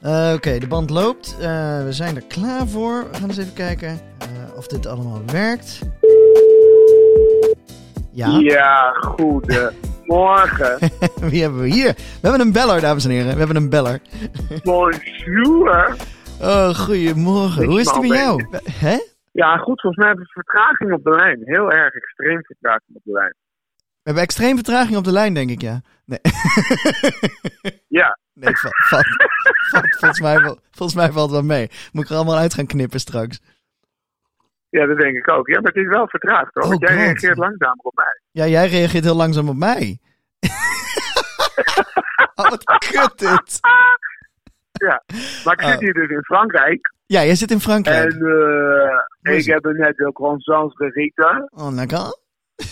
Eh, Oké, de band loopt. Eh, we zijn er klaar voor. We gaan eens even kijken eh, of dit allemaal werkt. Ja, Ja, goedemorgen. wie hebben we hier? We hebben een beller, dames en heren. We hebben een beller. Bonjour. Oh, goedemorgen. Ik Hoe is het ben met al jou? Eh, Hè? Ja, goed, volgens mij hebben we vertraging op de lijn. Heel erg extreem vertraging op de lijn. We hebben extreem vertraging op de lijn, denk ik, ja. Nee, Ja, nee va- valt, valt volgens, mij wel, volgens mij valt wel mee. Moet ik er allemaal uit gaan knippen straks. ja, dat denk ik ook. Ja, maar het is wel vertraagd hoor. Oh, Want jij God. reageert langzamer op mij. Ja, jij reageert heel langzaam op mij. oh, wat kut dit. Ja. Maar ik Oh. zit hier dus in Frankrijk. Ja, jij zit in Frankrijk. En eh, Hoe is ik heb er net de croissants gegeten. Oh, lekker.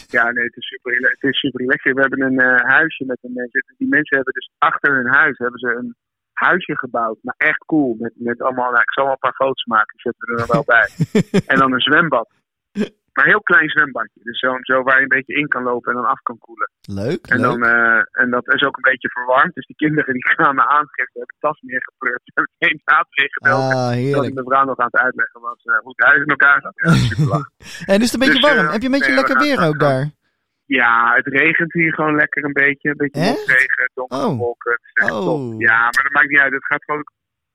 Ja, nee, het is super, het is super lekker. We hebben een eh, huisje met een mensen. Die mensen hebben dus achter hun huis hebben ze een huisje gebouwd. Maar echt cool. Met, met allemaal, nou, ik zal wel een paar foto's maken. Die zetten we er nog wel bij. En dan een zwembad. Maar een heel klein zwembadje. Dus zo, zo waar je een beetje in kan lopen en dan af kan koelen. Leuk, En, leuk. dan, eh, en dat is ook een beetje verwarmd. Dus die kinderen die kwamen aangifte, hebben tas neergepleurd. Hebben geen naad meegebeld. ah, dat ik heerlijk. de vrouw nog aan het uitleggen was eh, hoe het huis in elkaar zat. Ja, super lachen. En is het een beetje Dus, eh, warm? Heb je een beetje nee, we lekker gaan- weer ook daar? Ja, het regent hier gewoon lekker een beetje. Een beetje Echt? motregen, donkere Oh. wolken. Het is echt Oh. top. Ja, maar dat maakt niet uit. Het gaat gewoon...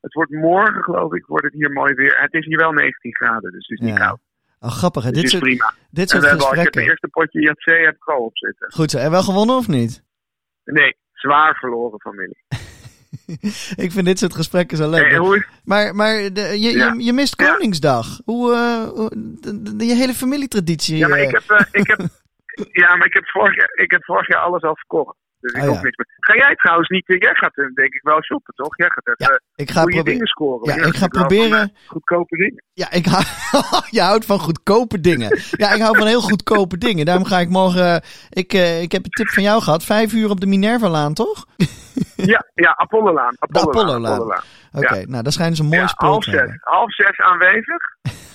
Het wordt morgen, geloof ik, wordt het hier mooi weer. Het is hier wel 19 graden, dus het is niet Ja. koud. Oh, grappig. Hè? Dus Dit het is soort, prima. dit En soort we hebben al, ik heb mijn gesprekken. eerste potje Jatzee heb ik al op zitten. Goed zo. En wel gewonnen of niet? Nee, zwaar verloren familie. Ik vind dit soort gesprekken zo Hey, leuk. hoe is Maar, maar de, je, Ja. je, je mist Ja. Koningsdag. Hoe, eh, hoe- de- de- je hele familietraditie. Ja, maar eh, ik heb, eh, ik heb, ja, maar ik heb, vorig, jaar, ik heb vorig jaar alles al verkocht. Dus ik Oh, hoef ja. niks meer. Ga jij trouwens niet, jij gaat eh, denk ik wel shoppen, toch? Jij gaat even eh, Ja, ik ga goede proberen. dingen scoren. Ja, hoor. ik ga Jij houdt proberen- van, eh, Goedkope dingen. Ja, ik hou, je houdt van goedkope dingen. Ja, ik hou van heel goedkope dingen. Daarom ga ik morgen. eh, Ik, eh, ik heb een tip van jou gehad. Vijf uur op de Minerva-laan, toch? Ja, ja Apollo-laan. Apollo-laan. Apollo-laan. Apollo-laan. Oké, nou, daar schijnen ze een mooi Ja, oh, spul half te zes. hebben. Half zes aanwezig.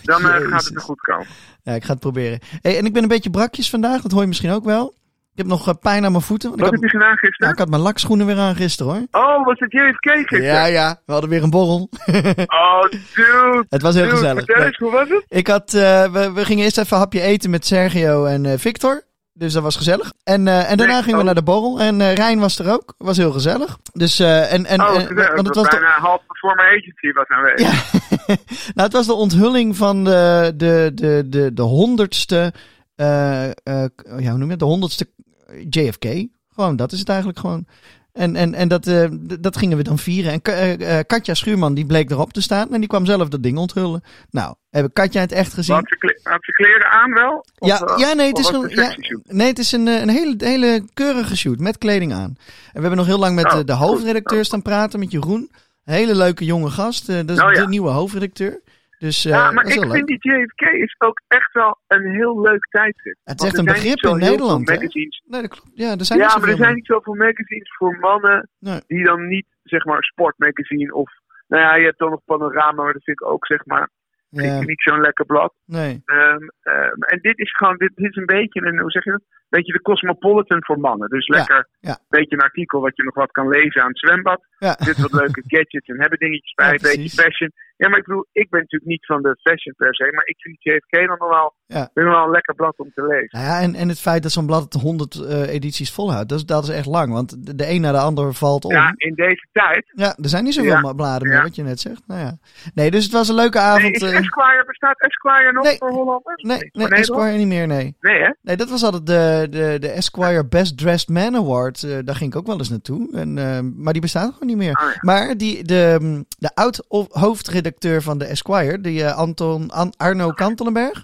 Dan eh, gaat het Jezus. er goed komen. Ja, ik ga het proberen. Hey, en ik ben een beetje brakjes vandaag. Dat hoor je misschien ook wel. Ik heb nog eh, pijn aan mijn voeten. Want ik Wat had, heb je gedaan nou, gisteren? ik had mijn lakschoenen weer aan gisteren, hoor. Oh, was het JFK gisteren? Ja, ja. We hadden weer een borrel. Oh, dude. het was heel dude, gezellig. Vertel Nee. eens, hoe was het? Ik had, eh, we, we gingen eerst even een hapje eten met Sergio en eh, Victor. Dus dat was gezellig. En, eh, en daarna Nee, gingen we oh. naar de borrel. En eh, Rijn was er ook. Was heel gezellig. Dus, eh, en, en, Oh, eh, wat gezellig. want het was, de, bijna half voor mijn agency was aanwezig. Ja. nou, het was de onthulling van de, de, de, de, de honderdste, eh, eh, ja, hoe noem je het? De honderdste JFK. Gewoon, dat is het eigenlijk gewoon. En, en, en dat, eh, d- dat gingen we dan vieren. En Ka- eh, eh, Katja Schuurman, die bleek erop te staan. En die kwam zelf dat ding onthullen. Nou, hebben Katja het echt gezien? Had ze, kle- had ze kleren aan wel? Of, Ja, eh, ja, nee, het of is was gewoon- het een ja. sectieshoot? Nee, het is een, eh, een hele, hele keurige shoot met kleding aan. En we hebben nog heel lang met Oh, eh, de goed. hoofdredacteur staan praten, met Jeroen. Een hele leuke jonge gast. eh, dat is Oh, ja. de nieuwe hoofdredacteur. Dus eh, Ja, dat maar is ik heel leuk. vind die JFK is ook echt wel een heel leuk tijdschrift. Het is Want echt er een zijn begrip niet zo in heel Nederland, veel hè? magazines. Nee, dat klopt. Ja, er zijn niet Ja, maar zoveel er zijn niet zoveel magazines voor mannen Nee. die dan niet, zeg maar, sportmagazine of... Nou ja, je hebt dan nog Panorama, maar dat vind ik ook, zeg maar, meer. Ja, vind ik niet zo'n lekker blad. nee. Ehm, ehm, en dit is gewoon, dit, dit is een beetje, een, hoe zeg je dat? Een beetje de Cosmopolitan voor mannen. Dus Ja, lekker, ja. een beetje een artikel wat je nog wat kan lezen aan het zwembad. Ja. Er zitten wat leuke gadgets en hebben dingetjes bij, Ja, een beetje precies. fashion. Ja, maar ik bedoel, ik ben natuurlijk niet van de fashion per se, maar ik vind JFK dan nog wel, Ja. vind ik wel een lekker blad om te lezen. Nou ja, en, en het feit dat zo'n blad het 100 eh, edities volhoudt, dat is, dat is echt lang. Want de, de een na de ander valt om. Ja, in deze tijd. Ja, er zijn niet zoveel Ja, ma- bladen meer, ja. wat je net zegt. Nou ja. Nee, dus het was een leuke avond. Nee, is eh, Esquire, bestaat Esquire nog nee. voor Hollanders? nee, Voor nee, Nederland? Esquire niet meer, nee. Nee, hè? Nee, dat was altijd de, de, de Esquire Best Dressed Man Award. Eh, daar ging ik ook wel eens naartoe. En, eh, maar die bestaat gewoon niet meer. Oh ja. Maar die, de, mm, de oud-hoofdredacteur van de Esquire, die eh, Anton, An- Arno Kantelenberg.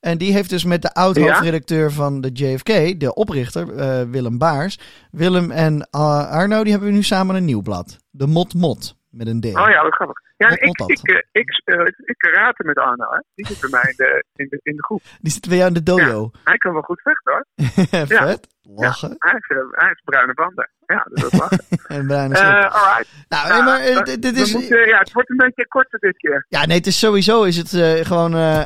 En die heeft dus met de oud-hoofdredacteur van de JFK, de oprichter, eh, Willem Baars. Willem en eh, Arno, die hebben we nu samen een nieuw blad. De Mot Mot, met een D. Oh ja, wat grappig. Ja, Wat ik, moet dat? ik, eh, ik, speel- ik, ik karate met Arno, hè? Die zit bij mij in de, in de, in de groep. Die zit bij jou in de dojo. Hij kan wel goed vechten, hoor. Vet. Lachen. Hij heeft, eh, hij heeft bruine banden. Ja, dat is wel lachen. En bijna Eh, zo. alright. nou, nee, maar eh, dit- dit We is... moeten, ja, het wordt een beetje korter dit keer. Ja, nee, het is sowieso is het eh, gewoon. eh,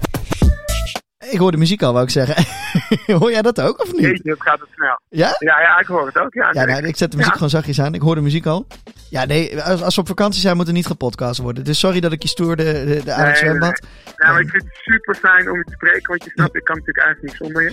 Ik hoor de muziek al, wou ik zeggen. hoor jij dat ook of niet? Jeetje, dat gaat het snel. Ja? Ja, ja, ik hoor het ook. Ja, Ja, zeker. nou, ik zet de muziek Ja. gewoon zachtjes aan. Ik hoor de muziek al. Ja, nee, als, als we op vakantie zijn, moet er niet gepodcast worden. Dus sorry dat ik je stoorde, de, de aan het Nee, nee, zwembad. Nou, maar ik vind het super fijn om je te spreken, want je snapt, ik kan natuurlijk eigenlijk niet zonder je.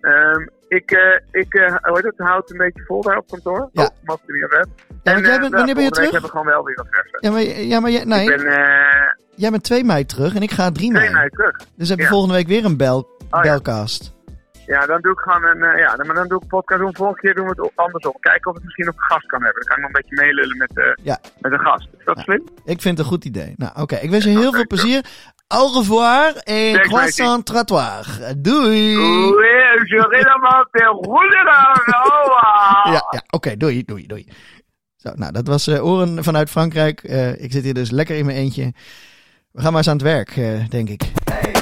Ehm, ik, eh, ik eh, hoe heet het, houd het een beetje vol daar op kantoor. Ja. Oh, mag er weer weg. Ja, want jij eh, bent- nou, wanneer ben je volgende week terug? hebben we gewoon wel weer wat versen. Ja, maar, ja, maar jij, nee, Ik ben eh jij bent 2 mei terug en ik ga 3 twee mei. maanden terug. Dus hebben we ja. Oh, volgende week weer een bel, ja. belcast. Ja, dan doe ik gewoon een, eh, ja, dan- maar dan doe ik een podcast om. Volgende keer doen we het o- andersom. Kijken of ik misschien ook een gast kan hebben. Dan kan ik nog een beetje meelullen met, eh, Ja. met een gast. Is dat Ja. slim? Ik vind het een goed idee. Nou, oké. Ik wens je heel oké, veel plezier. Au revoir en Thanks, croissant trottoir. Doei! Oeh, je helemaal te Oh, Ja, ja oké. doei, doei, doei. Zo, nou, dat was eh, Oren vanuit Frankrijk. Eh, ik zit hier dus lekker in mijn eentje. We gaan maar eens aan het werk, eh, denk ik. Hey,